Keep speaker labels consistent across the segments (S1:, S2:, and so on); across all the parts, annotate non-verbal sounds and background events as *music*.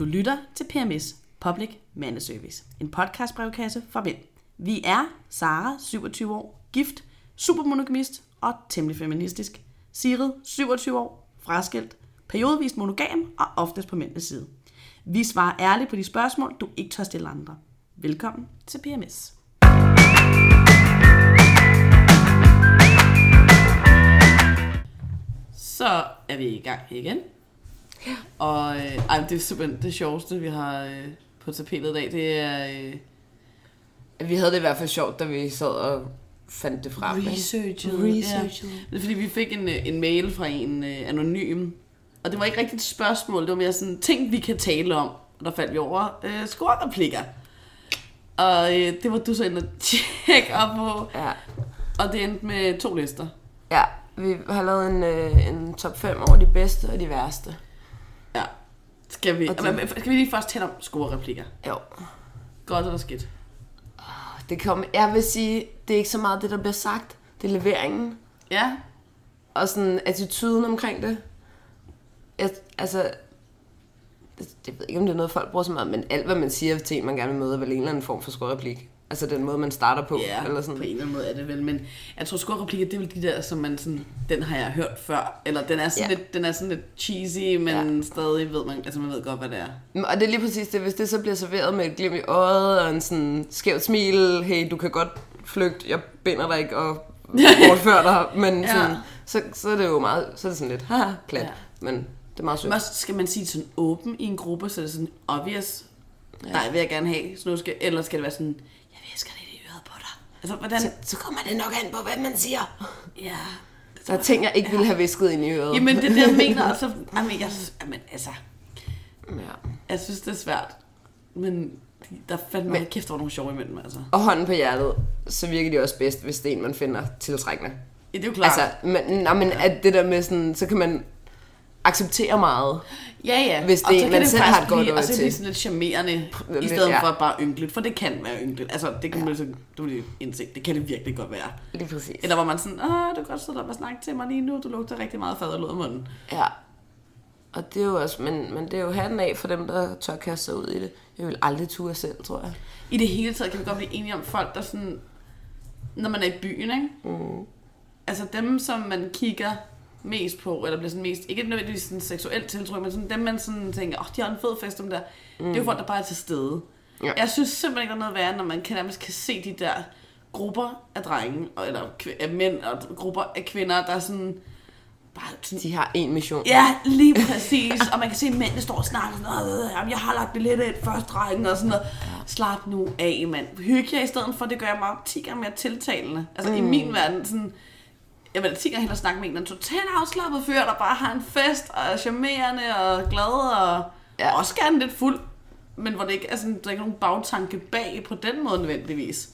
S1: Du lytter til PMS, Public Mandeservice. En podcastbrevkasse fra Vind. Vi er Sara, 27 år, gift, supermonogamist og temmelig feministisk. Sigrid, 27 år, fraskilt, periodevis monogam og oftest på mændenes side. Vi svarer ærligt på de spørgsmål, du ikke tør stille andre. Velkommen til PMS. Så er vi i gang igen. Og øh, ej, det er simpelthen det sjoveste, vi har øh, på tapetet i dag. Det er øh,
S2: Vi havde det i hvert fald sjovt, da vi sad og fandt det frem. ikke?
S1: researchet. Researchet. Ja. Det er fordi, vi fik en, øh, en mail fra en øh, anonym. Og det var ikke rigtigt et spørgsmål. Det var mere sådan ting, vi kan tale om. Og der faldt vi over øh, skorreplikker. Og øh, det var du så inde og tjekke op på.
S2: Ja.
S1: Og det endte med to lister.
S2: ja, vi har lavet en, øh, en top 5 over de bedste og de værste.
S1: Ja. Skal vi,
S2: Og det-
S1: men- men skal vi lige først tale om skorreplikker?
S2: Jo,
S1: Godt eller skidt?
S2: det kom, jeg vil sige, det er ikke så meget det, der bliver sagt. Det er leveringen
S1: Ja.
S2: og sådan attituden omkring det. Jeg, altså, det, jeg ved ikke, om det er noget, folk bruger så meget, men alt, hvad man siger til en, man gerne vil møde, er vel en eller anden form for skorreplik. Altså den måde, man starter på.
S1: Ja,
S2: eller sådan.
S1: på en eller anden måde er det vel, men jeg tror skurreplikker, det er vel de der, som man sådan, den har jeg hørt før, eller den er sådan, ja.
S2: Ja.
S1: lidt, den er sådan lidt cheesy, men ja. stadig ved man, altså man ved godt, hvad det er.
S2: Mm, Og det er lige præcis det, hvis det så bliver serveret med et glimt i øjet og en sådan skævt smil, hey, du kan godt flygte, jeg binder dig ikke og
S1: *laughs*
S2: bortfører dig, men
S1: Ja.
S2: ja. sådan, så, så er det jo meget, så er det sådan lidt, haha, plat,
S1: Ja.
S2: ja. men det er meget sødt.
S1: Men også skal man sige sådan åben i en gruppe, så er det sådan obvious, ja. nej, vil jeg gerne have snuske, eller skal det være sådan, jeg visker lidt i øret på dig. Altså, hvordan,
S2: Så, så kommer det nok an på, hvad man siger.
S1: ja.
S2: Der er ting, jeg ikke ville have visket ind i øret.
S1: Jamen, det er det, jeg mener, og så, jamen, jeg, jamen, altså,
S2: *laughs* Ja.
S1: jeg synes, det er svært, men der fandt mig kæft, hvor er nogle sjove imellem, altså.
S2: Og hånden på hjertet, så virker de også bedst, hvis det er en, man finder tiltrækkende.
S1: Ja, det er jo klart.
S2: Altså, men, nå, men at det der med sådan, så kan man acceptere meget.
S1: Ja, ja.
S2: Hvis
S1: Og
S2: det
S1: så
S2: er en,
S1: kan
S2: man selv
S1: faktisk
S2: har et godt
S1: blive-
S2: øje
S1: Og så er
S2: til.
S1: det sådan lidt charmerende, i
S2: lidt,
S1: stedet
S2: ja.
S1: for bare ynkeligt, for det kan være ynkeligt. Altså, det kan man så, du vil indse, det kan det virkelig godt være.
S2: Lige præcis.
S1: Eller hvor man sådan, ah, du kan godt sidde der og snakke til mig lige nu, du lugter rigtig meget faderlød i munden.
S2: Ja. Og det er jo også, men, men det er jo handen af for dem, der tør kaste sig ud i det. Jeg vil aldrig ture selv, tror jeg.
S1: I det hele taget kan vi godt blive enige om folk, der sådan, når man er i byen, ikke? Mm. Altså dem, som man kigger mest på, eller bliver sådan mest, ikke nødvendigvis sådan seksuelt tiltrykket, men sådan dem, man sådan tænker, åh, oh, de har en fed fest, dem der. Mm. Det er jo folk, der bare er til stede. Ja.
S2: Ja.
S1: Jeg synes simpelthen ikke, der er noget værre, når man kan, nærmest kan se de der grupper af drenge, og, eller kv- af mænd, og grupper af kvinder, der er sådan, bare sådan
S2: De har en mission.
S1: Ja, lige præcis. Og man kan se, at mændene står og snakker sådan noget. "Jamen, Jeg har lagt billetter ind først rækken og sådan noget. Slap nu af, mand. Hygge jer i stedet for, det gør jeg meget 10 gange mere tiltalende. Altså mm. i min verden, sådan... Jeg vil da 10 gange hellere snakke med en, en totalt afslappet fyr, der bare har en fest og er charmerende og glad og ja.
S2: Ja.
S1: også gerne lidt fuld. Men hvor det ikke er sådan, der er ikke nogen bagtanke bag på den måde nødvendigvis.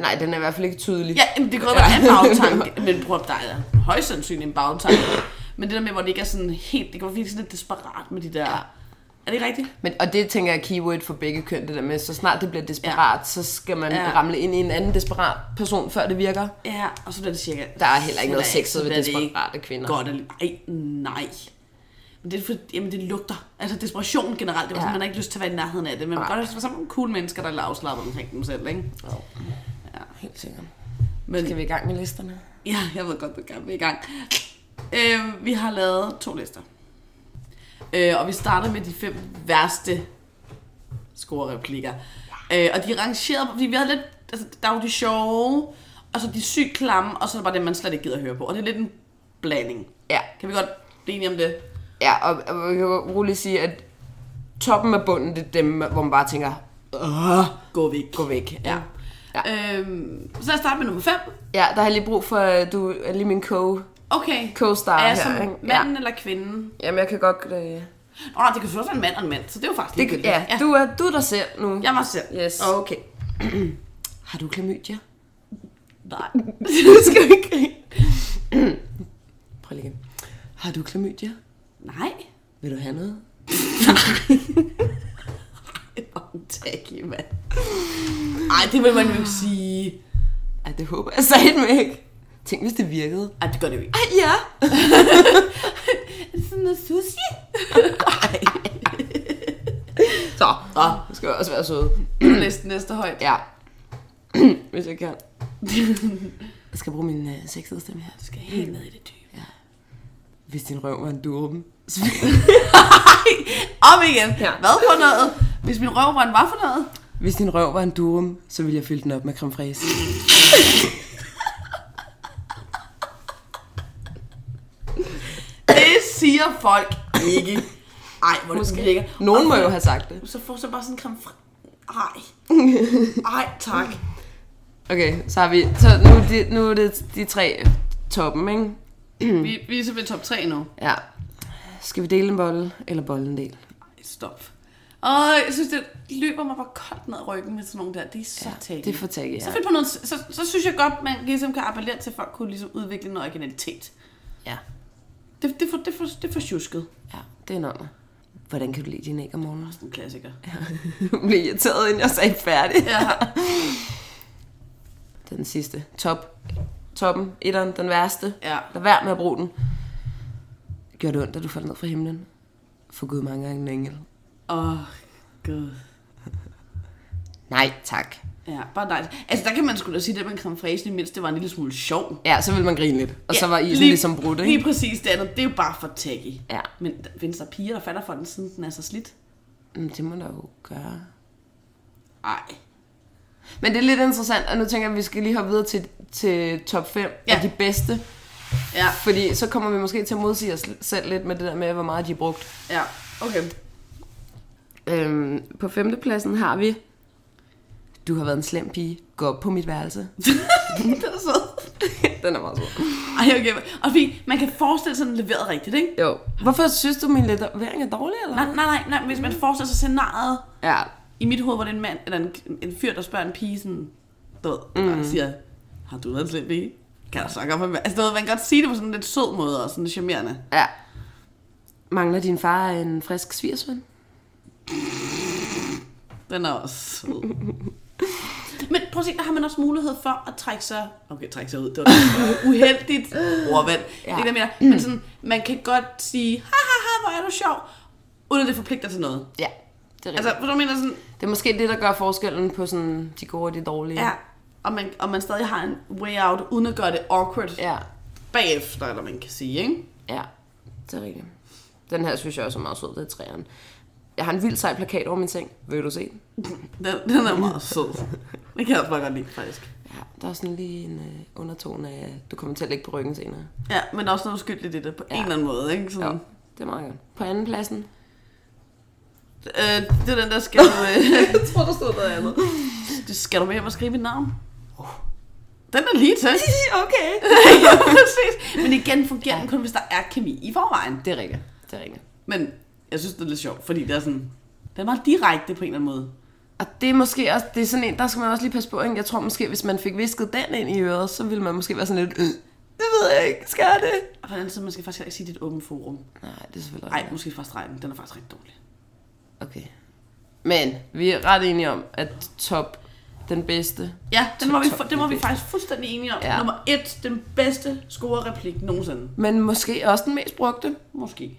S2: Nej, den er i hvert fald ikke tydelig.
S1: Ja, jamen, det kan godt være, der er en bagtanke, men prøv at der er højst sandsynligt en bagtanke. Men det der med, hvor det ikke er sådan helt, det kan være virkelig sådan lidt desperat med de der... Er det rigtigt?
S2: Men, og det tænker jeg er keyword for begge køn, det der med, så snart det bliver desperat, ja. så skal man
S1: Ja.
S2: ja. ramle ind i en anden desperat person, før det virker.
S1: Ja, og så bliver det cirka...
S2: Der er heller ikke noget
S1: så bliver
S2: sexet ved
S1: så bliver det
S2: desperate
S1: ikke
S2: kvinder.
S1: Godt, alli- ej, nej. Men det er for, jamen det lugter. Altså desperation generelt, det var sådan,
S2: Ja.
S1: man har ikke lyst til at være i nærheden af det, men man kan godt have sådan nogle cool mennesker, der er lidt afslappet omkring dem selv, ikke?
S2: Helt sikkert.
S1: Men
S2: Skal vi i gang med listerne?
S1: Ja, jeg ved godt, du gerne vil i gang. Øh, vi har lavet to lister. Øh, og vi starter med de fem værste scorereplikker. Øh, og de er rangeret, fordi vi havde lidt, altså, der er jo de sjove, og så de sygt klamme, og så er der bare det, man slet ikke gider at høre på. Og det er lidt en blanding.
S2: Ja.
S1: Kan vi godt blive enige om det?
S2: Ja, og, og jeg kan jo roligt sige, at toppen af bunden, det er dem, hvor man bare tænker,
S1: Åh, gå væk.
S2: gå væk.
S1: Ja. ja. Øhm, så lad os starte med nummer 5.
S2: Ja, der har jeg lige brug for, øh, du er lige min co-
S1: Okay.
S2: co-star
S1: Er jeg
S2: her.
S1: som
S2: ikke?
S1: manden ja. eller kvinden?
S2: Jamen, jeg kan godt... Øh...
S1: Åh, oh, det kan selvfølgelig være en mand og en mand, så det er jo faktisk
S2: Det,
S1: ligegyldigt.
S2: ja, ja. Du, er, du er dig selv nu.
S1: Jeg er mig selv.
S2: Yes.
S1: Okay.
S2: Har du klamydia?
S1: *laughs* Nej.
S2: det skal vi ikke. Prøv lige igen. Har du klamydia?
S1: Nej.
S2: Vil du have noget?
S1: Tacky, mand. Ej, det vil man jo ikke sige.
S2: Ej, det håber jeg sagde mig ikke. Tænk, hvis det virkede.
S1: Ej, det gør det jo ikke.
S2: Ej, ja.
S1: *clears throat* Er det sådan noget sushi?
S2: Ej. Så, Nå, nu skal jeg også være søde.
S1: Næste, næste højt.
S2: Ja. *clears throat* Hvis jeg kan. jeg skal bruge min øh, sexede stemme her.
S1: Du skal helt ned i det dybe.
S2: Hvis din røv var en durum.
S1: Om igen.
S2: Ja.
S1: Hvad for noget? Hvis min røv var en hvad for noget?
S2: *laughs* Hvis din røv var en durum, så ville jeg fylde den op med creme fraise.
S1: Det siger folk ikke. Ej, hvor det
S2: Måske.
S1: virker.
S2: Nogen må jo have sagt det.
S1: Så får så bare sådan en creme fra... Ej. Ej, tak.
S2: Okay, så har vi... Så nu, er det, nu er det de tre toppen, ikke?
S1: Vi, vi er så ved top 3 nu.
S2: Ja. Skal vi dele en bolle, eller bolle en del?
S1: Ej, stop. Og jeg synes, det løber mig bare koldt ned ad ryggen med sådan nogle der. Det er så ja,
S2: Det er for taggy,
S1: Så,
S2: ja.
S1: find på noget, så, så synes jeg godt, man ligesom kan appellere til, at folk kunne ligesom udvikle en originalitet.
S2: Ja,
S1: Det, det, er for, det, er for, det er for sjusket.
S2: ja. Det er nummer. Hvordan kan du lide din æg om morgenen? *laughs*
S1: Sådan en klassiker.
S2: Du blev irriteret, inden jeg sagde færdig.
S1: Ja.
S2: Den sidste. Top. Toppen. Etteren. Den værste.
S1: ja.
S2: Lad være med at bruge den. Gør det ondt, at du falder ned fra himlen? For Gud mange gange en engel.
S1: Åh, oh, gud.
S2: Nej, tak.
S1: Ja, bare nice. Altså, der kan man sgu da sige det med en creme fraise, lige mindst det var en lille smule sjov.
S2: Ja, så vil man grine lidt. Og ja, så var isen lige, ligesom brudt, ikke?
S1: Lige præcis det andet, det er jo bare for tacky.
S2: Ja,
S1: Men der- findes der piger, der falder for den, siden den er så slidt?
S2: men det må der jo gøre.
S1: Ej.
S2: Men det er lidt interessant, og nu tænker jeg, at vi skal lige hoppe videre til, til top 5 ja.
S1: Ja.
S2: af de bedste.
S1: Ja,
S2: Fordi så kommer vi måske til at modsige os selv lidt med det der med, hvor meget de er brugt.
S1: ja, okay.
S2: Øhm, på femtepladsen har vi... Du har været en slem pige. Gå op på mit *laughs* værelse.
S1: *laughs* det er sød.
S2: *laughs* Den er meget sød.
S1: Ej, okay. Og fordi man kan forestille sig, at den er leveret rigtigt, ikke?
S2: Jo. Hvorfor synes du, min levering er dårlig, eller?
S1: Nej, nej, nej, nej. Hvis man forestiller sig scenariet
S2: Ja,
S1: i mit hoved, hvor det er en mand, eller en, en fyr, der spørger en pige sådan, du ved, mm. og siger, har du været en slem pige? Kan du så godt være Altså, du ved, man kan godt sige det på sådan en lidt sød måde, og sådan lidt charmerende.
S2: ja. Mangler din far en frisk svigersøn?
S1: Den er også
S2: *laughs*
S1: sød. Men prøv at se, der har man også mulighed for at trække sig... Okay, trække sig ud,
S2: *laughs*
S1: det var lidt uheldigt ordvalg.
S2: Ja.
S1: Ja. Det der mener. Men sådan, man kan godt sige, ha ha ha, hvor er du sjov, uden at det forpligter til noget.
S2: Ja, det er rigtigt.
S1: Altså,
S2: Altså,
S1: hvad du mener sådan,
S2: det er måske det, der gør forskellen på sådan de gode og de dårlige.
S1: ja, og man, og man stadig har en way out, uden at gøre det awkward ja.
S2: Ja,
S1: bagefter, eller man kan sige, ikke?
S2: ja. Det er rigtigt. Den her synes jeg også er meget sød, det er træerne. Jeg har en vild sej plakat over min seng. Vil du se den?
S1: Den, den er meget sød. Det kan jeg også bare godt lide, faktisk.
S2: Ja, der er sådan lige en øh, undertone af, du kommer til at ligge på ryggen senere.
S1: Ja, men der er også noget uskyldigt i det, på ja.
S2: Ja.
S1: en eller anden måde, ikke?
S2: Ja,
S1: Sådan,
S2: det er meget godt. På anden pladsen.
S1: øh, det er den der, skal du, øh, *laughs*
S2: Jeg tror, der stod noget andet.
S1: Det skal du med hjem og skrive mit navn? Den er lige til.
S2: *laughs* okay.
S1: Oh. *laughs* Ja, *laughs* præcis. Men igen fungerer den kun, hvis der er kemi i forvejen.
S2: Det er rigtigt. Det er rigtigt.
S1: Men jeg synes, det er lidt sjovt, fordi det er sådan... Den er meget direkte på en eller anden måde.
S2: Og det er måske også, det er sådan en, der skal man også lige passe på, ikke? Jeg tror måske, hvis man fik visket den ind i øret, så ville man måske være sådan lidt, "Øh, det ved jeg ikke, skal jeg det?
S1: Og på den anden side, man skal faktisk heller ikke sige, det er et åbent forum.
S2: Nej, det er selvfølgelig
S1: Nej,
S2: rigtigt.
S1: måske faktisk stregen. Den er faktisk rigtig dårlig.
S2: Okay. Men vi er ret enige om, at top, den bedste,
S1: Ja, den var vi,
S2: Top, top,
S1: den var vi
S2: bedste.
S1: faktisk fuldstændig enige om.
S2: Ja.
S1: Ja. Nummer et, den bedste score-replik nogensinde.
S2: men måske også den mest brugte.
S1: Måske.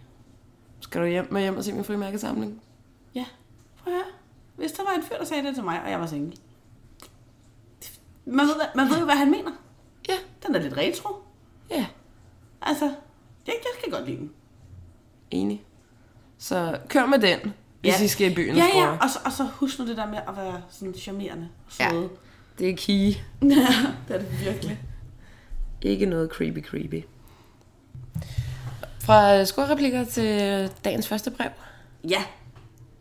S2: Skal du hjem med hjem og se min frimærkesamling?
S1: Ja, prøv at høre. Hvis der var en fyr, der sagde det til mig, og jeg var single. Man ved, hvad- man ved jo, hvad han mener.
S2: Ja,
S1: Den er lidt retro.
S2: ja,
S1: Altså, jeg, jeg kan godt lide den.
S2: enig. Så kør med den, hvis
S1: Ja.
S2: I skal i byen
S1: Ja,
S2: og score.
S1: ja, og så, og så husk nu det der med at være sådan charmerende og
S2: Ja.
S1: søde. *laughs*
S2: Det er key.
S1: Ja. det er det virkelig.
S2: Ikke noget creepy creepy. Fra skurreplikker til dagens første brev.
S1: Ja,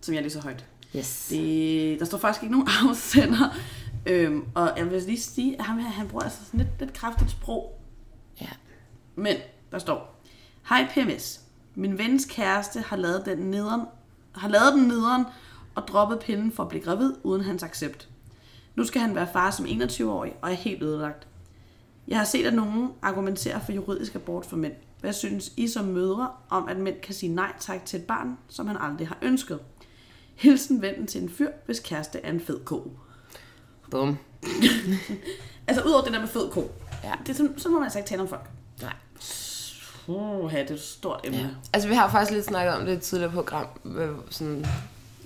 S1: som jeg læser højt.
S2: Yes.
S1: Det, der står faktisk ikke nogen *laughs* afsender. Øhm, og jeg vil lige sige, at ham her, han bruger altså sådan lidt, lidt kraftigt sprog.
S2: Ja.
S1: Men der står, Hej PMS, min vens kæreste har lavet den nederen, har lavet den nederen og droppet pillen for at blive gravid uden hans accept. Nu skal han være far som 21-årig og er helt ødelagt. Jeg har set, at nogen argumenterer for juridisk abort for mænd. Hvad synes I som mødre om, at mænd kan sige nej tak til et barn, som han aldrig har ønsket? Hilsen vennen til en fyr, hvis kæreste er en fed ko.
S2: Bum.
S1: Altså, udover det der med fed ko.
S2: Ja.
S1: Det er sådan, så må man altså ikke tale om folk.
S2: Nej.
S1: Puh, det er et stort emne.
S2: Altså, vi har faktisk lidt snakket om det i et tidligere program, med sådan,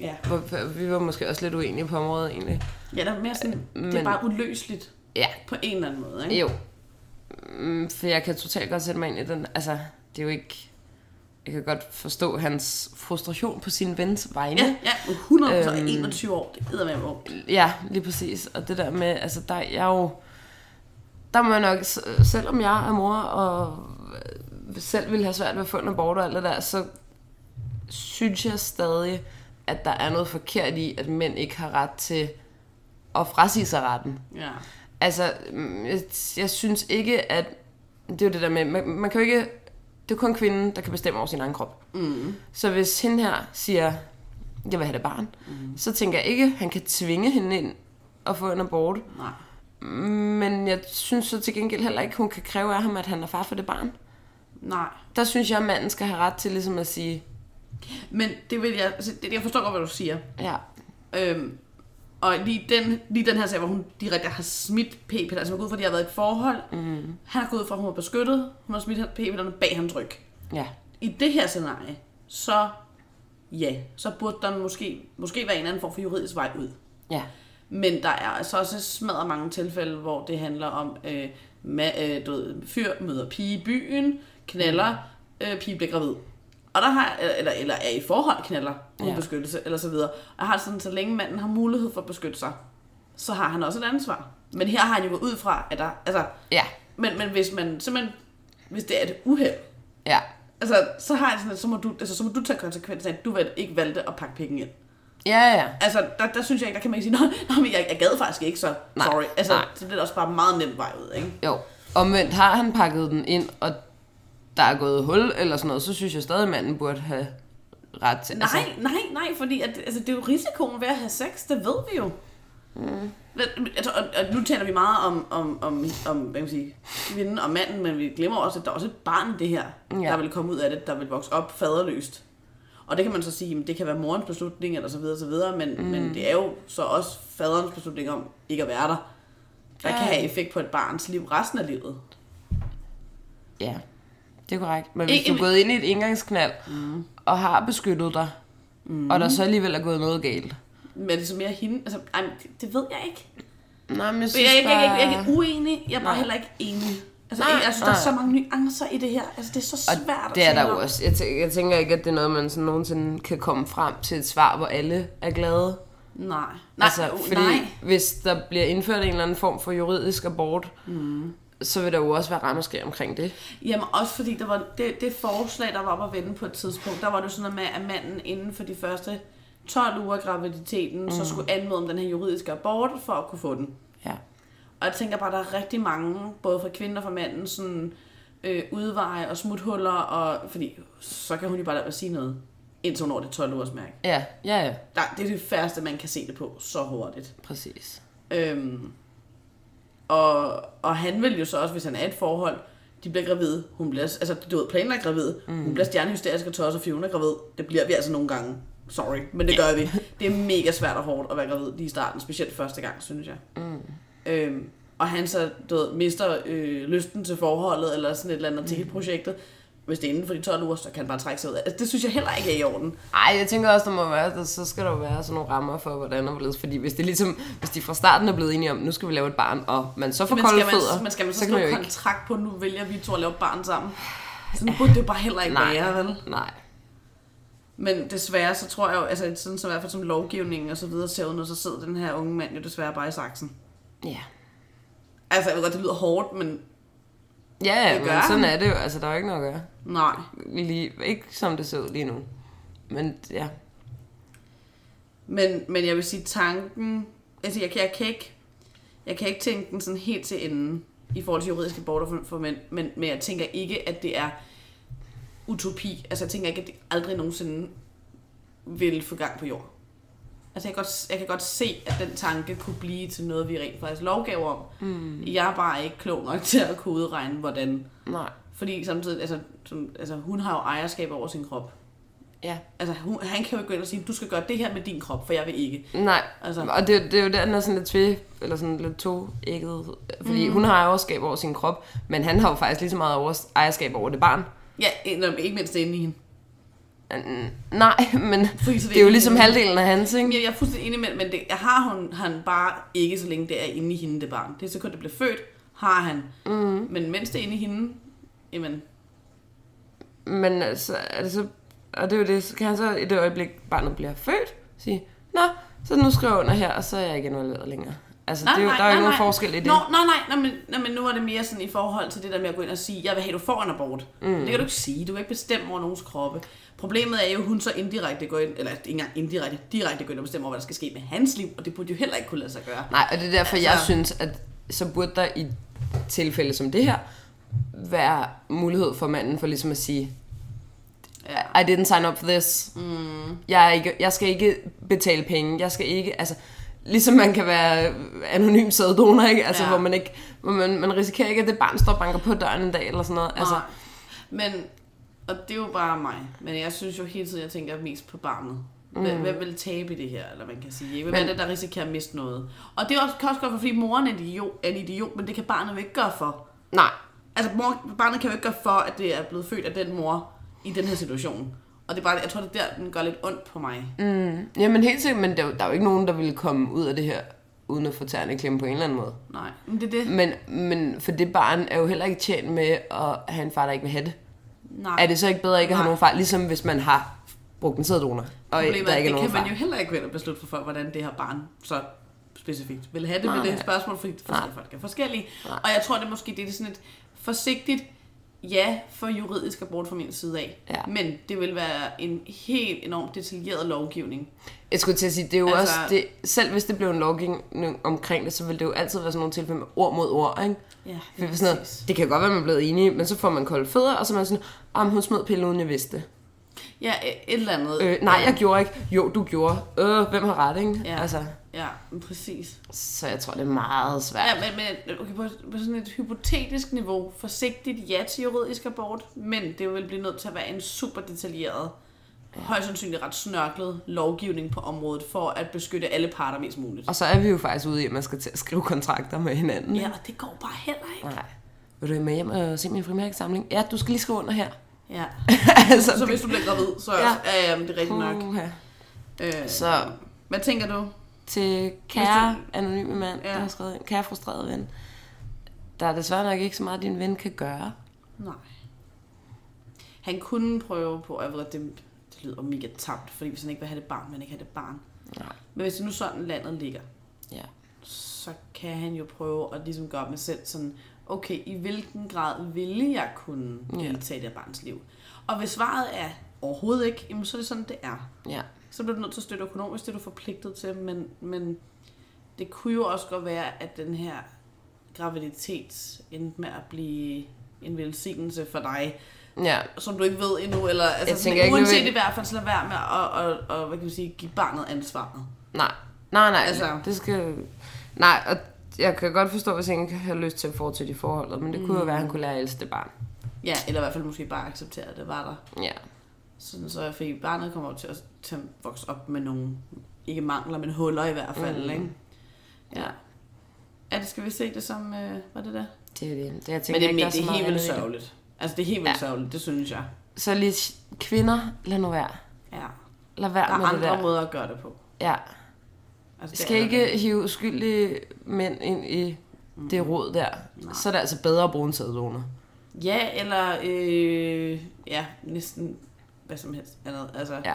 S1: Ja.
S2: Hvor, vi var måske også lidt uenige på området egentlig.
S1: Ja, der er mere sådan, men... det er
S2: Øh, men-
S1: bare uløseligt
S2: Ja,
S1: på en eller anden måde, ikke?
S2: jo. Mm, For jeg kan totalt godt sætte mig ind i den. Altså, det er jo ikke... Jeg kan godt forstå hans frustration på sin vens vegne.
S1: Ja, ja, 100 øhm...
S2: Øhm.
S1: 21 år, det hedder man jo.
S2: Ja, lige præcis. Og det der med, altså der jeg er jo... Der må jeg nok, s- selvom jeg er mor, og øh, selv ville have svært ved at få en abort og alt det der, så synes jeg stadig, at der er noget forkert i, at mænd ikke har ret til at frasige sig retten.
S1: Ja.
S2: Altså, mm, jeg, jeg synes ikke, at... Det er jo det der med, man, man kan jo ikke... Det er kun kvinden, der kan bestemme over sin egen krop.
S1: Mm.
S2: Så hvis hende her siger, jeg vil have det barn, mm. så tænker jeg ikke, at han kan tvinge hende ind og få en abort.
S1: Nej.
S2: Men jeg synes så til gengæld heller ikke, hun kan kræve af ham, at han er far for det barn.
S1: Nej.
S2: Der synes jeg, at manden skal have ret til ligesom at sige,
S1: Men det vil jeg, altså, det, jeg forstår godt, hvad du siger.
S2: ja,
S1: Øhm, og lige den, lige den her sag, hvor hun direkte har smidt p-piller, altså man går ud fra, at de har været i et forhold. Mm. Han har gået ud fra, at hun var beskyttet. Hun har smidt p-pillerne bag hans ryg.
S2: ja,
S1: I det her scenarie, så ja, så burde der måske, måske være en eller anden form for juridisk vej ud.
S2: ja,
S1: Men der er altså også smadret mange tilfælde, hvor det handler om, øh, ma- øh, du ved, fyr møder pige i byen, knaller, øh, pige bliver gravid. Og der har, øh, eller, eller er i forhold knaller uden ja.
S2: Ja.
S1: beskyttelse, eller så videre. Og jeg har sådan, så længe manden har mulighed for at beskytte sig, så har han også et ansvar. Men her har han jo gået ud fra, at der, altså,
S2: ja,
S1: men, men hvis man simpelthen, hvis det er et uheld,
S2: ja,
S1: altså, så har jeg sådan, at så må du, altså, så må du tage konsekvensen af, at du valgte- ikke valgte at pakke pikken ind.
S2: ja, ja.
S1: Altså, der, der synes jeg ikke, der kan man ikke sige, nej, men jeg, jeg gad faktisk ikke, så
S2: Nej,
S1: sorry. Altså,
S2: nej.
S1: så det er også bare meget nemt vej ud, ikke?
S2: Jo, omvendt har han pakket den ind, og der er gået hul eller sådan noget, så synes jeg stadig, at manden burde have ret til. altså,
S1: Nej, nej, nej, fordi at, altså, det er jo risikoen ved at have sex, det ved vi jo. Mm. Altså, og, og, nu taler vi meget om, om, om, om hvad kan man sige, kvinden og manden, men vi glemmer også, at der er også et barn i det her, ja.
S2: Ja.
S1: der vil komme ud af det, der vil vokse op faderløst. Og det kan man så sige, at det kan være morens beslutning, eller så videre, så videre, men, mm. men det er jo så også faderens beslutning om ikke at være der, der ja.
S2: Ja.
S1: kan have effekt på et barns liv resten af livet.
S2: Ja, det er korrekt. Men hvis
S1: Ikke-
S2: du er gået ind i et indgangsknald, E- mm. og har beskyttet dig, mm. og der så alligevel er gået noget galt.
S1: Men er det så mere hende? Altså, ej, men det, det ved jeg ikke.
S2: Nej, men jeg
S1: Jeg,
S2: synes
S1: jeg, jeg, jeg, jeg, jeg er
S2: bare...
S1: ikke uenig, jeg er bare
S2: Nej.
S1: heller ikke enig. Altså,
S2: Nej,
S1: jeg, jeg synes, der er
S2: nej.
S1: så mange nuancer i det her. Altså, det er så
S2: Og
S1: svært
S2: det er
S1: tale
S2: der jo
S1: om.
S2: også. Jeg, tæ- jeg tænker ikke, at det er noget, man sådan nogensinde kan komme frem til et svar, hvor alle er glade.
S1: Nej. Nej, altså,
S2: fordi
S1: nej.
S2: hvis der bliver indført en eller anden form for juridisk abort, mm. så vil der jo også være rammerskrig omkring det.
S1: Jamen også fordi der var det, det forslag, der var oppe at vende på et tidspunkt, der var det jo sådan noget med, at manden inden for de første 12 uger af graviditeten, mm. så skulle anmode om den her juridiske abort for at kunne få den.
S2: Ja.
S1: Og jeg tænker bare, at der er rigtig mange, både fra kvinder og fra manden, sådan øh, udveje og smuthuller, og, fordi så kan hun jo bare lade være at sige noget, indtil hun når det 12 ugers mærke.
S2: Ja, ja, ja.
S1: Der, det er det færreste, man kan se det på så hurtigt.
S2: Præcis.
S1: Øhm, og, og han vil jo så også, hvis han er i et forhold, de bliver gravide, hun bliver, altså du ved, planlagt gravid, mm. hun bliver stjernehysterisk og tosset, fordi hun er gravid. Det bliver vi altså nogle gange. Sorry, men det gør *laughs* vi. Det er mega svært og hårdt at være gravid lige i starten, specielt første gang, synes jeg. Mm. Øhm, og han så, du ved, mister øh, lysten til forholdet, eller sådan et eller andet mm. til hele projektet. Hvis det er inden for de 12 uger, så kan han bare trække sig ud af. Altså, det synes jeg heller ikke er i orden.
S2: Ej, jeg tænker også, der må være, der, så skal der jo være sådan nogle rammer for, hvordan og hvorledes. Fordi hvis, det er ligesom, hvis de fra starten er blevet enige om, nu skal vi lave et barn, og man så får
S1: Men skal
S2: kolde
S1: man,
S2: fødder,
S1: men skal man så,
S2: så
S1: så
S2: kan
S1: slå
S2: man jo ikke...
S1: kontrakt på, nu vælger vi to at lave et barn sammen? Sådan burde det jo bare heller ikke
S2: Nej,
S1: være, vel?
S2: nej.
S1: Men desværre, så tror jeg jo, altså sådan som i hvert fald som lovgivningen og så videre ser ud nu, så sidder den her unge mand jo desværre bare i saksen.
S2: Ja.
S1: Altså jeg ved godt, det lyder hårdt, men
S2: Ja,
S1: Det
S2: ja, men
S1: gør
S2: sådan
S1: han.
S2: er det jo. Altså, der er jo ikke noget at gøre.
S1: nej.
S2: Lige, ikke som det ser ud lige nu. Men ja,
S1: Men, men jeg vil sige tanken, altså jeg, kan- jeg kan ikke, jeg kan ikke tænke den sådan helt til enden i forhold til juridiske border for, for mænd, men, men jeg tænker ikke, at det er utopi. Altså jeg tænker ikke, at det aldrig nogensinde vil få gang på jord. Altså jeg kan, godt, jeg kan godt se, at den tanke kunne blive til noget, vi rent faktisk lovgav om. Mm. Jeg er bare ikke klog nok til at kunne udregne, hvordan.
S2: nej.
S1: Fordi samtidig, altså, som, altså hun har jo ejerskab over sin krop.
S2: Ja.
S1: Altså hun, han kan jo ikke gå ind og sige, du skal gøre det her med din krop, for jeg vil ikke.
S2: Nej,
S1: Altså.
S2: altså. og det, det er jo der, den er sådan lidt tve, eller sådan lidt toægget. Fordi mm. hun har ejerskab over sin krop, men han har jo faktisk lige så meget over, ejerskab over det barn.
S1: Ja, en- nå, ikke mindst inde i hende.
S2: Nej, *laughs* men
S1: Fordi så
S2: det er jo ligesom halvdelen af hans, ikke?
S1: Jamen, Jeg jeg er fuldstændig enig med, men det jeg har hun, han bare ikke, så længe det er inde i hende, det barn. Det er så kun det bliver født, har han. Mm. Men mens det er inde i hende, jamen,
S2: Men altså, er det så, og det er jo det, så kan han så i det øjeblik, barnet bliver født, sige, Nå, så nu skriver jeg under her, og så er jeg ikke involveret længere. Altså, nej, det er jo, der er jo ikke nogen forskel i det.
S1: Nå, nej, nej, nej, men, nej, men nu var det mere sådan i forhold til det der med at gå ind og sige, jeg vil have, du får en abort. Mm. Det kan du ikke sige, du kan ikke bestemme over nogens kroppe. Problemet er jo, at hun så indirekte går ind, eller ikke engang indirekte, direkte går ind og bestemmer, hvad der skal ske med hans liv, og det burde jo heller ikke kunne lade sig gøre.
S2: Nej, og det er derfor, altså... jeg
S1: Altså-
S2: synes, at så burde der i tilfælde som det her, være mulighed for manden for ligesom at sige,
S1: Ja.
S2: I didn't sign up for this. Mm. Jeg, er ikke, jeg skal ikke betale penge. Jeg skal ikke, altså, ligesom man kan være anonym sæddonor, ikke? Altså,
S1: Ja.
S2: ja. hvor man ikke, hvor man, man risikerer ikke, at det barn står og banker på døren en dag, eller sådan noget. Altså,
S1: Altså, men, og det er jo bare mig, men jeg synes jo hele tiden, jeg tænker mest på barnet. Hvem, mm. hvem vil tabe i det her, eller man kan sige. Hvem men, er
S2: Men-
S1: det, der risikerer at miste noget? Og det er også, kan også godt være, fordi moren er en idiot, er en idiot, men det kan barnet jo ikke gøre for.
S2: nej.
S1: Altså, mor, barnet kan jo ikke gøre for, at det er blevet født af den mor i den her situation. Og det er bare, jeg tror, det er der, den gør lidt ondt på mig. Mm.
S2: Jamen helt sikkert, men der, er jo- der er jo ikke nogen, der ville komme ud af det her, uden at få tæerne i klemme på en eller anden måde.
S1: Nej, men det er det.
S2: Men, men for det barn er jo heller ikke tjent med at have en far, der ikke vil have det.
S1: Nej,
S2: Er det så ikke bedre ikke at have
S1: Nej.
S2: nogen far, ligesom hvis man har brugt en sæddonor, og der
S1: Problemet
S2: ikke
S1: er,
S2: er
S1: at det
S2: nogen
S1: kan
S2: far?
S1: man jo heller ikke gå ind og beslutte for folk, hvordan det her barn så specifikt vil have det, men
S2: Nej.
S1: det er et spørgsmål, fordi forskellige folk er forskellige. Og jeg tror, det er måske det er sådan et forsigtigt ja for juridisk abort fra min side af.
S2: Ja.
S1: Men det vil være en helt enormt detaljeret lovgivning.
S2: Jeg skulle til at sige, det er jo altså...
S1: Altså-
S2: også... Det, selv hvis det blev en lovgivning omkring det, så ville det jo altid være sådan nogle tilfælde med ord mod ord, ikke?
S1: Ja,
S2: Det, er sådan noget, det kan godt være, man er blevet enige, men så får man kolde fødder, og så er man sådan, om hun smed pillen, uden jeg vidste det."
S1: Ja, et eller andet.
S2: Øh, nej, jeg gjorde ikke. Jo, du gjorde. Øh, hvem har ret, ikke?
S1: Ja.
S2: Altså,
S1: Ja, men præcis.
S2: så jeg tror, det er meget svært.
S1: Ja, men, men okay, på, på sådan et hypotetisk niveau, forsigtigt ja til juridisk abort, men det vil blive nødt til at være en super detaljeret, højst sandsynligt ret snørklet lovgivning på området, for at beskytte alle parter mest muligt.
S2: Og så er vi jo faktisk ude i, at man skal til at skrive kontrakter med hinanden.
S1: Ja, og det går bare heller ikke.
S2: Nej. Vil du med hjem og se min frimærkesamling? Ja, du skal lige skrive under
S1: *laughs*
S2: her.
S1: Ja.
S2: altså,
S1: Så hvis du bliver gravid, så
S2: Ja.
S1: ja. Ja, ja, men det er rigtigt nok.
S2: Puha.
S1: Øh,
S2: Så
S1: hvad tænker du?
S2: til
S1: Hvis
S2: kære anonyme mand, ja.
S1: Ja.
S2: der har skrevet ind, kære frustrerede ven, der er desværre nok ikke så meget, din ven kan gøre.
S1: Nej. Han kunne prøve på, og jeg ved, at det, det lyder mega tamt, fordi hvis han ikke vil have det barn, vil han ikke have det barn.
S2: Nej.
S1: Men hvis det nu sådan landet ligger,
S2: Ja.
S1: så kan han jo prøve at ligesom gøre med selv sådan, okay, i hvilken grad ville jeg kunne
S2: Ja.
S1: deltage i det her barns liv? Og hvis svaret er overhovedet ikke, jamen så er det sådan, det er.
S2: Ja.
S1: Så bliver du nødt til at støtte økonomisk, det er du forpligtet til, men, men det kunne jo også godt være, at den her graviditet endte med at blive en velsignelse for dig,
S2: Ja.
S1: som du ikke ved endnu, eller altså,
S2: Jeg
S1: sådan,
S2: tænker ikke
S1: uanset
S2: nødvendigt-
S1: i hvert fald, så lad være med at, at, at, at hvad kan man sige, give barnet ansvaret.
S2: Nej. Nej, nej.
S1: Altså.
S2: Altså. Det skal... Nej, og jeg kan godt forstå, hvis han har lyst til at fortsætte i forholdet, men det kunne jo være, at
S1: Mm.
S2: han kunne lære at elske det barn.
S1: Ja, eller i hvert fald måske bare acceptere, at det var der.
S2: Ja.
S1: Sådan så, fordi barnet kommer jo til at, til at vokse op med nogle, ikke mangler, men huller i hvert fald, mm. ikke? Ja. Er det, skal vi se det som, øh, var det der?
S2: Det er det. det jeg
S1: Men det,
S2: tænker, ikke,
S1: men,
S2: der er
S1: det
S2: så
S1: er
S2: meget
S1: helt vildt
S2: andet i det.
S1: sørgeligt. Altså, det er helt vildt
S2: Ja.
S1: sørgeligt, det synes jeg.
S2: Så lige s- kvinder, lad nu være.
S1: Ja.
S2: Lad
S1: Der
S2: være
S1: er
S2: med det
S1: andre
S2: der.
S1: måder at gøre det på.
S2: Ja.
S1: Altså, det
S2: skal
S1: er der.
S2: ikke hive uskyldige mænd ind i det råd der. Mm-hmm. Nej. Mm. Så er det altså bedre at bruge en sæddonor.
S1: Ja, eller øh, ja, næsten hvad som helst andet. Altså,
S2: Ja.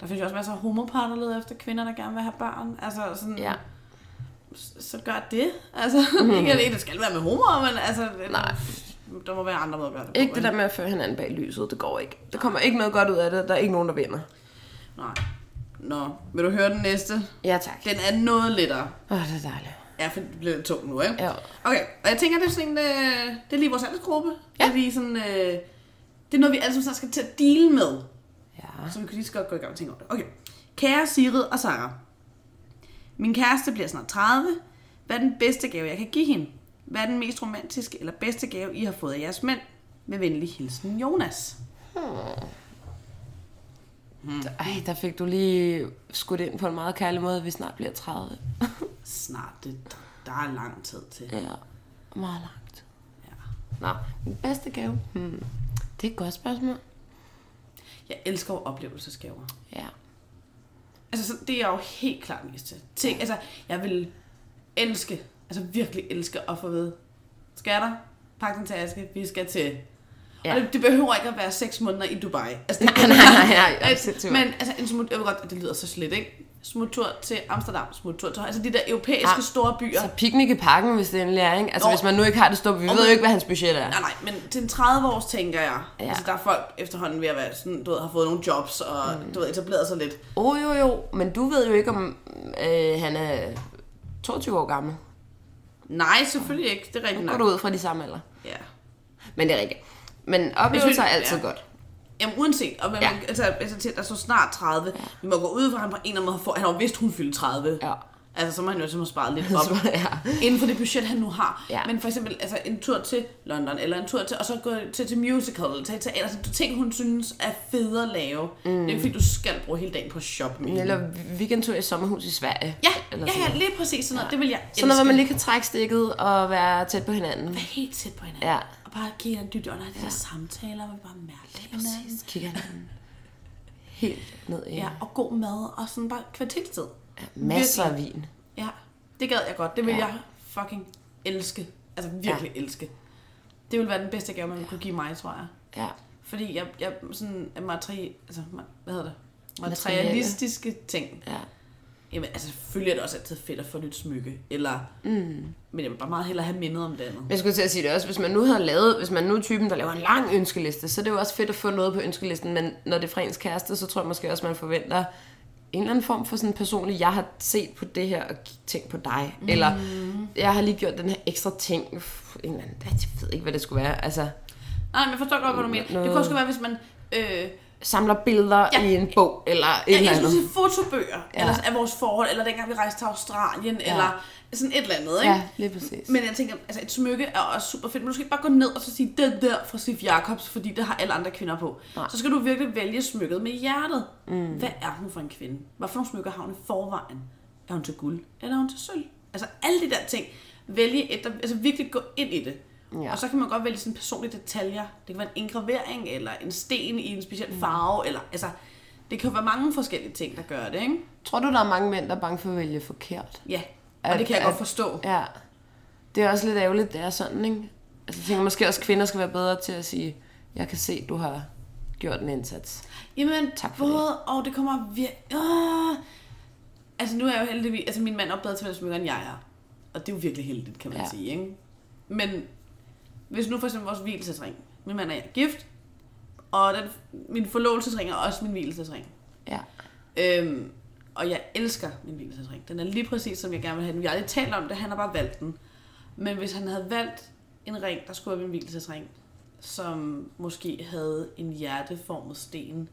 S1: Der findes jo også masser af homopar, der leder efter kvinder, der gerne vil have børn. Altså, sådan,
S2: Ja. Mhm.
S1: s- så gør det. Altså, *laughs* ikke at det skal være med homoer, men altså, det-
S2: Nej.
S1: der må være andre måder at gøre det på,
S2: Ikke det
S1: vel?
S2: der med at føre hinanden bag lyset, det går ikke. Der kommer ikke noget godt ud af det, der er ikke nogen, der vinder.
S1: Nej. Nå, vil du høre den næste?
S2: Ja tak.
S1: Den er noget lettere.
S2: Åh, oh, det er dejligt.
S1: Ja, for det bliver lidt tungt nu, ikke?
S2: Ja.
S1: Okay, og jeg tænker, det er sådan en, øh, det er lige vores aldersgruppe.
S2: Ja.
S1: Det er lige sådan, øh, det er noget, vi alle sammen snart skal til at deal med.
S2: Ja.
S1: Så vi kan lige så godt gå i gang og tænke over det. Okay. Kære Sigrid og Sara. Min kæreste bliver snart 30. Hvad er den bedste gave, jeg kan give hende? Hvad er den mest romantiske eller bedste gave, I har fået af jeres mænd? Med venlig hilsen, Jonas.
S2: Mm. Ej, der fik du lige skudt ind på en meget kærlig måde, at vi snart bliver 30.
S1: Snart, det, der er lang tid til.
S2: Ja. Meget langt.
S1: Ja.
S2: Nå, min bedste gave? Hmm. Det er et godt spørgsmål.
S1: Jeg elsker jo oplevelsesgaver.
S2: Ja.
S1: Altså, så det er jeg jo helt klart mest til. Ting, altså, jeg vil elske, altså virkelig elske at få ved. Skatter, pak den til aske, vi skal til. Ja.
S2: Ja.
S1: Og det, det, behøver ikke at være seks måneder i Dubai. Altså, det,
S2: *laughs* Nej, nej, nej, nej.
S1: at, men altså, en smut, jeg ved godt, at det lyder så slet, ikke? Smuttur til Amsterdam, smuttur til... Altså de der europæiske
S2: Ah.
S1: store byer.
S2: Så piknik i parken, hvis det endelig er, ikke? Altså,
S1: Nå.
S2: hvis man nu ikke har det stort, vi
S1: Om-
S2: ved jo ikke, hvad hans budget er.
S1: Nej, nej, men til en 30 års tænker jeg. Ja.
S2: Ja.
S1: Altså, der er folk efterhånden ved at være sådan, du ved, har fået nogle jobs, og mm. du ved, etableret sig lidt.
S2: Åh, oh, jo, jo, men du ved jo ikke, om øh, han er 22 år gammel.
S1: Nej, selvfølgelig ikke. Det er rigtigt
S2: Nu går
S1: nok.
S2: du ud fra de samme alder.
S1: Ja.
S2: Men det er rigtigt. Men oplevelser er
S1: ja.
S2: altid godt.
S1: Jamen uanset, og hvem, ja.
S2: Ja.
S1: altså, altså til, der så snart 30, ja. vi må gå ud fra, at han på en eller anden måde får, han har jo vidst, hun fyldte 30.
S2: Ja.
S1: Altså, så må han jo simpelthen spare
S2: *laughs*
S1: lidt op.
S2: Så- ja.
S1: inden for det budget, han nu har.
S2: Ja.
S1: Men for eksempel altså, en tur til London, eller en tur til, og så gå til, til musical, eller til teater, altså du ting, hun synes er fede at lave. Mm. Det er ikke, fordi, du skal bruge hele dagen på at shoppe med. hende.
S2: Eller weekendtur i sommerhus i Sverige.
S1: Ja, ja,
S2: Eller sådan
S1: ja,
S2: noget.
S1: lige præcis sådan noget. Det vil jeg
S2: Sådan noget, hvor
S1: elske.
S2: man lige kan trække stikket og være tæt på hinanden.
S1: Være helt tæt på hinanden.
S2: Ja.
S1: Og bare give hinanden dybt under de der samtaler, hvor vi bare mærker hinanden.
S2: Præcis. Kigger hinanden helt ned i.
S1: Ja, og god mad, og sådan bare kvalitetstid.
S2: Ja, Masser af vin.
S1: Ja, det gad jeg godt. Det vil ja.
S2: Ja.
S1: jeg fucking elske. Altså virkelig ja. elske. Det ville være den bedste gave, man kunne give mig, tror jeg.
S2: Ja.
S1: Fordi jeg, jeg sådan er materi, altså, ma- hvad hedder det?
S2: Materielle.
S1: materialistiske ting.
S2: ja.
S1: Jamen, altså selvfølgelig er det også altid fedt at få nyt smykke. Eller, mm. Men jeg vil bare meget hellere have mindet om det andet.
S2: Men Jeg skulle til at sige det også, hvis man nu havde lavet, hvis man nu er typen, der laver en lang ønskeliste, så er det jo også fedt at få noget på ønskelisten, men når det er fra ens kæreste, så tror jeg måske også, man forventer en eller anden form for sådan personlig, jeg har set på det her og tænkt på dig, mm. eller jeg har lige gjort den her ekstra ting, Uff, en eller anden, jeg ved ikke, hvad det skulle være, altså
S1: Nej, men jeg forstår godt, hvad du mener. Det kunne også godt være, hvis man... Øh,
S2: samler billeder
S1: Ja.
S2: ja. i en bog, eller et
S1: ja,
S2: eller
S1: jeg skulle
S2: andet.
S1: sige fotobøger ja.
S2: Ja.
S1: eller af vores forhold, eller dengang vi rejste til Australien, ja. eller sådan et eller andet, ikke?
S2: Ja, lige præcis.
S1: Men jeg tænker, altså et smykke er også super fedt, men du skal ikke bare gå ned og så sige, det der fra Sif Jacobs, fordi det har alle andre kvinder på. Nej.
S2: Nej.
S1: Så skal du virkelig vælge smykket med hjertet. Mm. Hvad er hun for en kvinde? Hvad for nogle smykker har hun i forvejen? Er hun til guld, eller er hun til sølv? Altså alle de der ting. Vælge et, der, altså virkelig gå ind i det. Ja.
S2: Ja.
S1: Og så kan man godt vælge sådan personlige detaljer. Det kan være en engravering, eller en sten i en speciel
S2: Mm.
S1: farve, eller altså, det kan jo være mange forskellige ting, der gør det, ikke?
S2: Tror du, der er mange mænd, der er bange for at vælge forkert?
S1: Ja, og
S2: At-
S1: det kan jeg
S2: at-
S1: godt forstå.
S2: Ja. Det er også lidt ærgerligt, det er sådan, ikke? Altså, jeg tænker måske også, at kvinder skal være bedre til at sige, jeg kan se, du har gjort en indsats.
S1: Jamen, tak
S2: Tak
S1: for
S2: for
S1: både, det. og det kommer virkelig... Øh. Altså, nu er jeg jo heldigvis... Altså, min mand er jo bedre til at smykker, end jeg er. Og det er jo virkelig heldigt, kan man ja.
S2: Ja.
S1: sige, ikke? Men hvis nu for eksempel vores hvilesesring... Min mand og jeg er gift, og den, min forlovelsesring er også min hvilesesring.
S2: Ja.
S1: Øhm, og jeg elsker min hvilesesring. Den er lige præcis, som jeg gerne vil have den. Vi har aldrig talt om det, han har bare valgt den. Men hvis han havde valgt en ring, der skulle have været min hvilesesring, som måske havde en hjerteformet sten,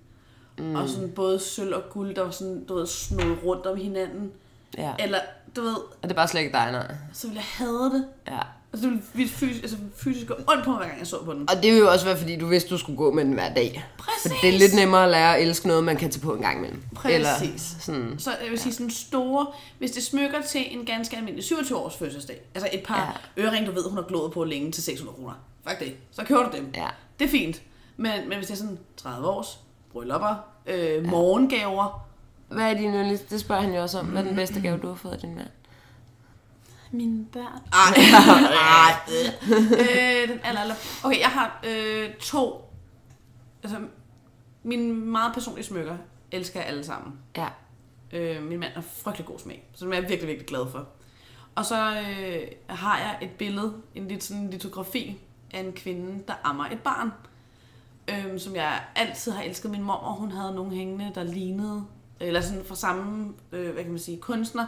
S1: mm. og sådan både sølv og guld, der var sådan, du ved, snodet rundt om hinanden,
S2: ja.
S1: eller, du ved,
S2: Og det er bare slet ikke dig, nej.
S1: så ville jeg hade det.
S2: Ja.
S1: Altså, det ville vi fysisk, altså, fysisk gå ondt på mig, hver gang jeg så på den.
S2: Og det vil jo også være, fordi du vidste, du skulle gå med den hver dag.
S1: Præcis!
S2: For det er lidt nemmere at lære at elske noget, man kan tage på en gang imellem.
S1: Præcis.
S2: Eller sådan,
S1: Så jeg vil sige sådan store, hvis det smykker til en ganske almindelig 27 års fødselsdag, altså et par ja. ørering, du ved, hun har glået på længe til 600 kroner. Fuck det, så kører du dem.
S2: ja.
S1: Det er fint. Men, men hvis det er sådan 30 års, bryllupper, øh, morgengaver,
S2: Hvad er din yndlings... Det spørger han jo også om. Hvad er den bedste gave, du har fået af din mand?
S1: mine børn. Ej, *laughs* ej. øh, den aller, aller. Okay, jeg har øh, to, altså mine meget personlige smykker, elsker jeg alle sammen.
S2: Ja.
S1: Øh, min mand har frygtelig god smag, så det er jeg virkelig, virkelig glad for. Og så øh, har jeg et billede, en lidt sådan litografi af en kvinde, der ammer et barn. Øh, som jeg altid har elsket. Min mor, hun havde nogle hængende, der lignede, eller sådan fra samme, øh, hvad kan man sige, kunstner.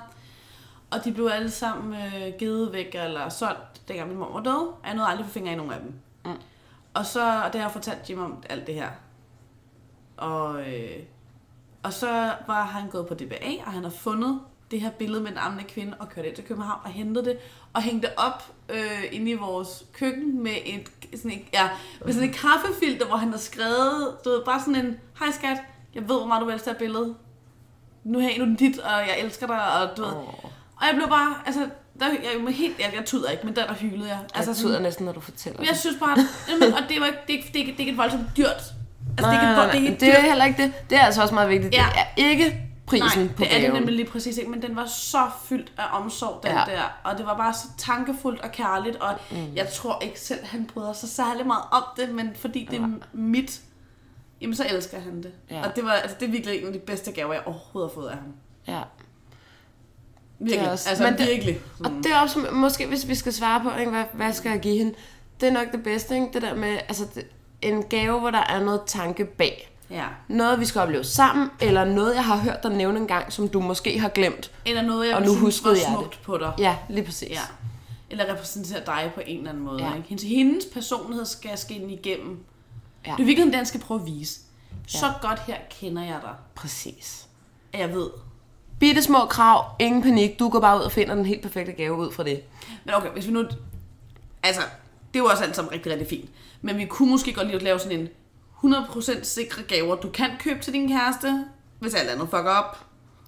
S1: Og de blev alle sammen øh, givet væk eller solgt, dengang min mor var død. Og jeg nåede aldrig at få fingre i nogen af dem.
S2: Mm.
S1: Og så, og det har jeg fortalt Jim om alt det her. Og, øh, og så var han gået på DBA, og han har fundet det her billede med den ammende kvinde, og kørt ind til København og hentet det, og hængte det op øh, inde i vores køkken med et, sådan et, ja, med sådan et kaffefilter, hvor han har skrevet, du ved, bare sådan en, hej skat, jeg ved, hvor meget du elsker det her billede. Nu har jeg nu er den dit, og jeg elsker dig, og du ved.
S2: Åh.
S1: Og jeg blev bare, altså, der, jeg, var helt, jeg, jeg tuder ikke, men der, der hylede jeg.
S2: Altså,
S1: Altså,
S2: jeg
S1: sådan,
S2: tyder næsten, når du fortæller
S1: men jeg synes bare, jamen, og det, var ikke, det, er ikke, det, er ikke, det er ikke et voldsomt dyrt Altså, det, kan,
S2: nej,
S1: det,
S2: nej,
S1: er
S2: nej.
S1: helt
S2: det er
S1: dyrt.
S2: heller ikke det. Det er altså også meget vigtigt. Ja.
S1: Ja.
S2: Det er ikke prisen
S1: Nej,
S2: på
S1: det er det
S2: gaven.
S1: nemlig lige præcis ikke, men den var så fyldt af omsorg, den
S2: Ja.
S1: ja. der. Og det var bare så tankefuldt og kærligt, og mm. jeg tror ikke selv, han bryder sig særlig meget om det, men fordi det er mit, jamen så elsker han det.
S2: Ja.
S1: Ja. Og det var altså, det er virkelig en af de bedste gaver, jeg overhovedet har fået af ham.
S2: Ja.
S1: Virkelig,
S2: Det er også-
S1: også, altså
S2: men det-
S1: virkelig.
S2: Og det er også, måske hvis vi skal svare på, ikke, hvad, hvad skal jeg give hende? Det er nok det bedste, ikke? Det der med, altså det, en gave, hvor der er noget tanke bag.
S1: Ja.
S2: Noget, vi skal opleve sammen, eller noget, jeg har hørt dig nævne en gang, som du måske har glemt.
S1: Eller noget, jeg
S2: Og
S1: og
S2: nu
S1: nu synes
S2: huskede
S1: var
S2: jeg
S1: smukt på dig.
S2: Ja, lige præcis.
S1: Ja. Eller repræsentere dig på en eller anden måde.
S2: Ja.
S1: Ja. Ikke? Hendes, hendes personlighed skal skinne igennem.
S2: Ja.
S1: Ja. Det er virkelig, den skal prøve at vise. Ja. Så godt her kender jeg dig,
S2: Præcis.
S1: at jeg ved.
S2: Bitte små krav, ingen panik. Du går bare ud og finder den helt perfekte gave ud fra det.
S1: Men okay, hvis vi nu... Altså, det er jo også alt sammen rigtig, rigtig fint. Men vi kunne måske godt lige at lave sådan en 100% sikre gaver, du kan købe til din kæreste, hvis alt andet fucker op.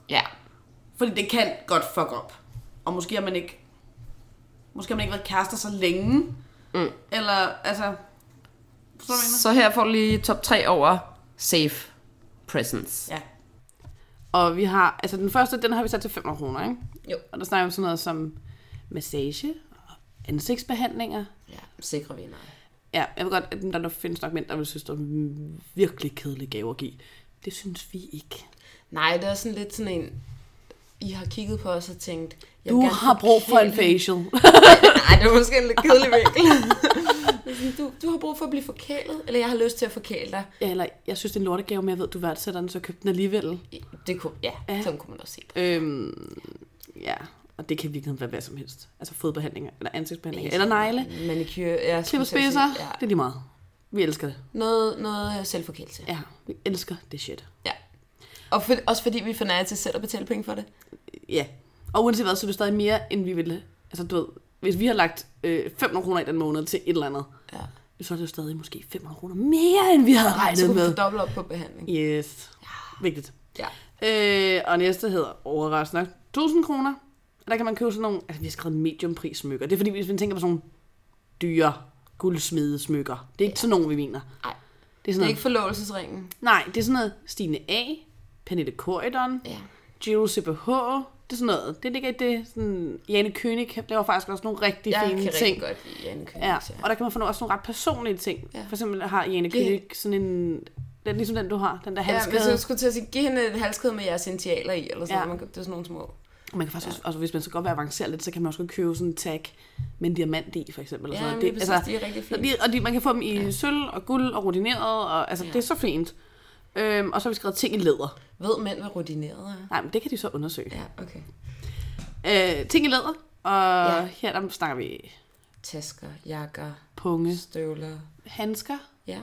S2: Ja.
S1: Fordi det kan godt fuck op. Og måske har man ikke... Måske har man ikke været kærester så længe. Mm. Eller, altså... Så,
S2: Så her får du lige top 3 over safe presence.
S1: Ja. Og vi har, altså den første, den har vi sat til 500 kroner, ikke?
S2: Jo.
S1: Og der snakker vi om sådan noget som massage, og ansigtsbehandlinger.
S2: Ja, sikre vinder.
S1: Ja, jeg ved godt, at der nok findes nok mænd, der vil synes, det er en virkelig kedelig gave at give. Det synes vi ikke.
S2: Nej, det er sådan lidt sådan en... I har kigget på os og tænkt... Jeg
S1: Du
S2: vil gerne
S1: har brug for en facial. *laughs*
S2: *laughs* Nej, det er måske en lidt kedelig vinkel. Det er sådan, du, du har brug for at blive forkælet, eller jeg har lyst til at forkæle dig.
S1: Ja, eller jeg synes, det er en lortegave, men jeg ved, du værdsætter den, så køb den alligevel.
S2: Det kunne, ja, ja,
S1: Ja.
S2: sådan kunne man også se det.
S1: Øhm, ja, og det kan virkelig være hvad som helst. Altså fodbehandlinger, eller ansigtsbehandlinger, eller negle,
S2: Manicure, ja. skulle jeg til at
S1: klipperspidser.
S2: sige. Ja.
S1: Det er lige meget. Vi elsker det.
S2: Noget, noget selvforkælelse.
S1: Ja, vi elsker det shit.
S2: Ja. Og for, også fordi vi fornærer til selv at betale penge for det.
S1: Ja. Og uanset hvad, så er det stadig mere, end vi ville. Altså, du ved, hvis vi har lagt øh, 500 kroner i den måned til et eller andet,
S2: Ja.
S1: så er det jo stadig måske 500 kroner mere, end vi havde
S2: Så
S1: regnet
S2: kunne vi
S1: med.
S2: få dobbelt op på behandling.
S1: Yes. Vigtigt.
S2: Ja.
S1: Øh, og næste hedder overraskende nok 1000 kroner. Og der kan man købe sådan nogle, altså vi har skrevet mediumpris smykker. Det er fordi, hvis man tænker på sådan nogle dyre guldsmede smykker. Det er ikke sådan nogen, vi mener. Det er
S2: Nej.
S1: sådan
S2: Det er
S1: noget,
S2: ikke forlovelsesringen.
S1: nej, det er sådan noget Stine A, Pernille Corridon,
S2: Ja.
S1: Giro CPH, det er sådan noget. Det ligger i det, sådan, Jane König laver faktisk også nogle rigtig
S2: Jeg
S1: fine
S2: kan
S1: ting.
S2: rigtig godt lide Janne Kønings,
S1: Ja, og der kan man få nogle- også nogle ret personlige ting.
S2: Ja.
S1: Ja. For eksempel har Jane
S2: Det-
S1: König sådan en, den, ligesom den du har, den der
S2: Ja,
S1: handskade.
S2: hvis jeg skulle til at sige, giv hende et halskæde med jeres initialer i, eller sådan
S1: Ja.
S2: ja. man købte sådan nogle små.
S1: Man kan faktisk også, også, hvis man så godt vil avancere lidt, så kan man også godt købe sådan en tag med en diamant i, for eksempel.
S2: Ja,
S1: eller sådan
S2: men
S1: noget.
S2: det, præcis, altså, de er rigtig fine.
S1: og, de, og de, man kan få dem i ja. sølv og guld og rutineret, og altså,
S2: Ja.
S1: ja. det er så fint. Øhm, og så har vi skrevet ting i læder.
S2: Ved mænd, hvad rutineret er?
S1: Nej, men det kan de så undersøge.
S2: Ja, okay.
S1: Øh, ting i læder, og
S2: Ja.
S1: ja. her der snakker vi
S2: Tasker, jakker,
S1: punge,
S2: støvler.
S1: handsker,
S2: Ja.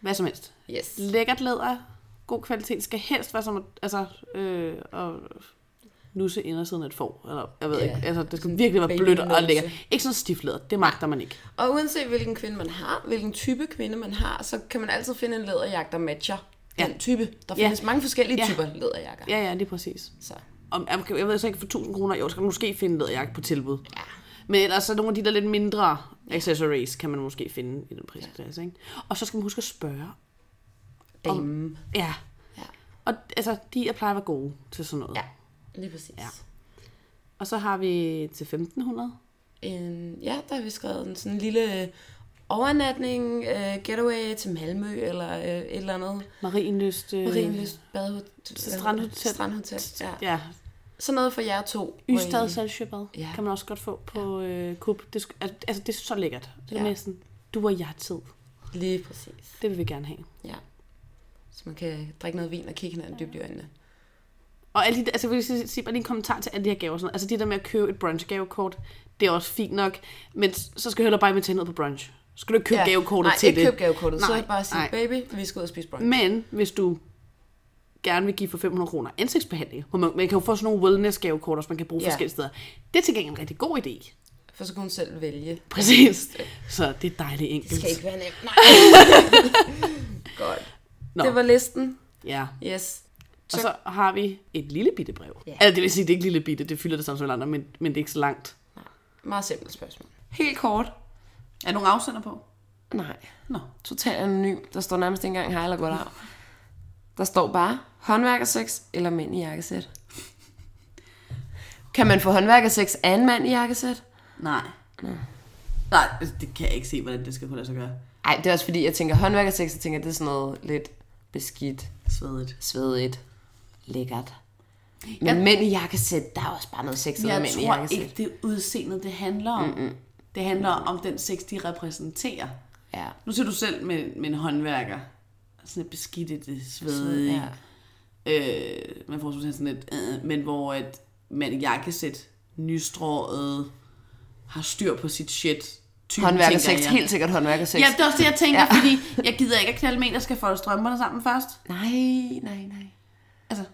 S1: hvad som helst.
S2: Yes.
S1: Lækkert læder, god kvalitet, skal helst være som at, altså, øh, og nusse indersiden af et får, eller jeg ved
S2: Ja,
S1: ja, ikke, altså det
S2: sådan
S1: skal virkelig være blødt og
S2: babynusse.
S1: lækkert. Ikke sådan stift læder, det magter man ikke.
S2: Og uanset hvilken kvinde man har, hvilken type kvinde man har, så kan man altid finde en læderjakke, der matcher ja.
S1: Ja.
S2: den type. Der
S1: Ja.
S2: findes mange forskellige
S1: Ja.
S2: typer læderjakker.
S1: Ja, ja, lige præcis.
S2: Så
S1: Om, jeg, jeg ved så ikke, for 1000 kroner i år skal man måske finde en læderjakke på tilbud.
S2: ja.
S1: Men ellers så nogle af de der lidt mindre accessories, kan man måske finde i den prisklasse. Ikke? Og så skal man huske at spørge.
S2: Dame.
S1: Ja.
S2: Ja.
S1: Og altså, de jeg plejer at være gode til sådan noget.
S2: Ja, lige præcis. Ja.
S1: Ja. Og så har vi til 1500.
S2: En, ja, der har vi skrevet en sådan lille øh, overnatning, uh, getaway til Malmø, eller uh, et eller andet.
S1: Marienlyst. Øh,
S2: Marienlyst badehotel.
S1: Strandhotel.
S2: Strandhotel, ja.
S1: Ja.
S2: Sådan noget for jer to. hvor I-
S1: Ystad Salsjøbad
S2: Ja.
S1: ja. kan man også godt få på øh, Coop. Det, sk- al- altså, det er så lækkert. Det er
S2: Ja.
S1: ja. næsten, du og jeg tid.
S2: Lige præcis,
S1: Det vil vi gerne have.
S2: ja. Så man kan drikke noget vin og kigge hinanden dybt i øjnene.
S1: Og alle de, der- altså, jeg vil lige sige- sige, bare lige en kommentar til alle de her gaver. og Sådan noget. Altså, det der med at købe et brunchgavekort, det er også fint nok. Men s- så skal du heller bare invitere noget på brunch. Så Skal du ikke købe ja. gavekortet
S2: nej,
S1: til
S2: ikke
S1: det?
S2: køb gavekortet. Nej, så
S1: Nej,
S2: bare sige,
S1: nej.
S2: baby, vi skal ud og spise brunch.
S1: Men hvis du gerne vil give for 500 kroner ansigtsbehandling, hvor man, man kan jo få sådan nogle wellness-gavekort, som man kan bruge
S2: Ja.
S1: ja. forskellige steder. Det er til gengæld en rigtig god idé.
S2: For så kan hun selv vælge.
S1: Præcis. Så det er dejligt enkelt.
S2: Det skal ikke være nemt. Nej. *laughs* Godt.
S1: Nå,
S2: Det var listen.
S1: ja.
S2: Yes.
S1: Og så har vi et lille bitte brev.
S2: Ja.
S1: Ja. Altså, det vil sige, det er ikke lille bitte, det fylder det samme som alle andre, men, men det er ikke så langt.
S2: Meget simpelt spørgsmål.
S1: Helt kort. Er der nogen afsender på?
S2: Nej.
S1: Nå.
S2: Totalt anonym. Der står nærmest ikke engang hej eller goddag. Der står bare håndværkersex eller mænd i jakkesæt. Kan man få håndværkersex af en mand i jakkesæt?
S1: Nej. Nej, altså, det kan jeg ikke se, hvordan det skal kunne lade sig gøre.
S2: Nej, det er også fordi, jeg tænker håndværkersex, jeg tænker, det er sådan noget lidt beskidt,
S1: Svedigt.
S2: svedigt, lækkert. Men
S1: Jeg-
S2: mænd i jakkesæt, der er også bare noget sexet med
S1: Jeg
S2: mænd i
S1: tror
S2: jakkesæt.
S1: ikke, det er udseendet, det handler om. Mm-mm. Det handler om den sex, de repræsenterer.
S2: Ja.
S1: Nu ser du selv med, med en håndværker. Sådan et beskidt, det svedige.
S2: ja.
S1: Ja. Øh, man får sådan sådan et, øh, men hvor at man, jeg kan sætte nystrået, har styr på sit shit. Typen,
S2: Håndværkersex,
S1: tænker jeg.
S2: helt sikkert håndværkersex.
S1: Ja, det er også det, jeg tænker, ja. fordi jeg gider ikke at knalde med en, der skal folde strømperne sammen først.
S2: Nej, nej, nej.
S1: Altså,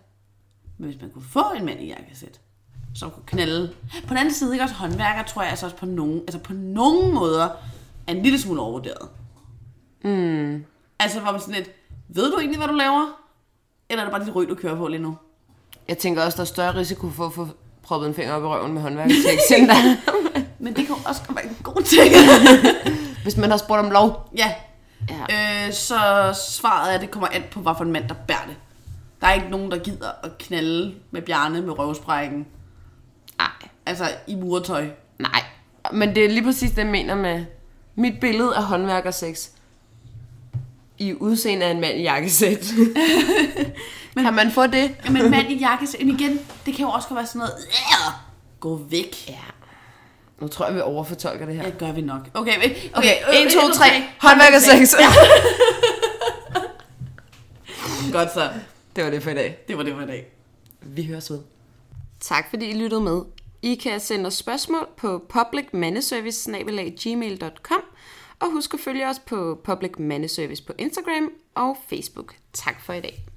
S1: men hvis man kunne få en mand i jakkesæt, som kunne knalde. På den anden side, ikke også håndværker, tror jeg altså også på nogen, altså på nogen måder, er en lille smule overvurderet. Mm. Altså, hvor man sådan lidt, ved du egentlig, hvad du laver? Eller er det bare dit ryg, du kører på lige nu?
S2: Jeg tænker også, der er større risiko for at få proppet en finger op i røven med *laughs* håndværkersex, end der.
S1: Men det kan jo også godt være en god ting.
S2: Hvis man har spurgt om lov.
S1: ja.
S2: Ja.
S1: Øh, så svaret er, at det kommer an på, hvad for en mand, der bærer det. Der er ikke nogen, der gider at knalde med bjerne med røvsprækken.
S2: Nej,
S1: Altså, i muretøj.
S2: nej. Men det er lige præcis det, jeg mener med mit billede af håndværkersex. I udseende af en mand i *laughs* jakkesæt. Men, kan man få det?
S1: Men mand i jakkesæt, men igen, det kan jo også godt være sådan noget, "Æh, gå væk.
S2: Ja. Nu tror jeg, vi overfortolker det her.
S1: Det gør vi nok. Okay, okay,
S2: Okay,
S1: okay, øh,
S2: 1, 2, 3.
S1: Håndværkersex.
S2: Håndværkersex.
S1: Godt så.
S2: Det var det for i dag.
S1: Det var det for i dag.
S2: Vi høres ved. Tak fordi I lyttede med. I kan sende os spørgsmål på publicmandeservice.gmail.com og husk at følge os på Public Mandeservice på Instagram og Facebook. Tak for i dag.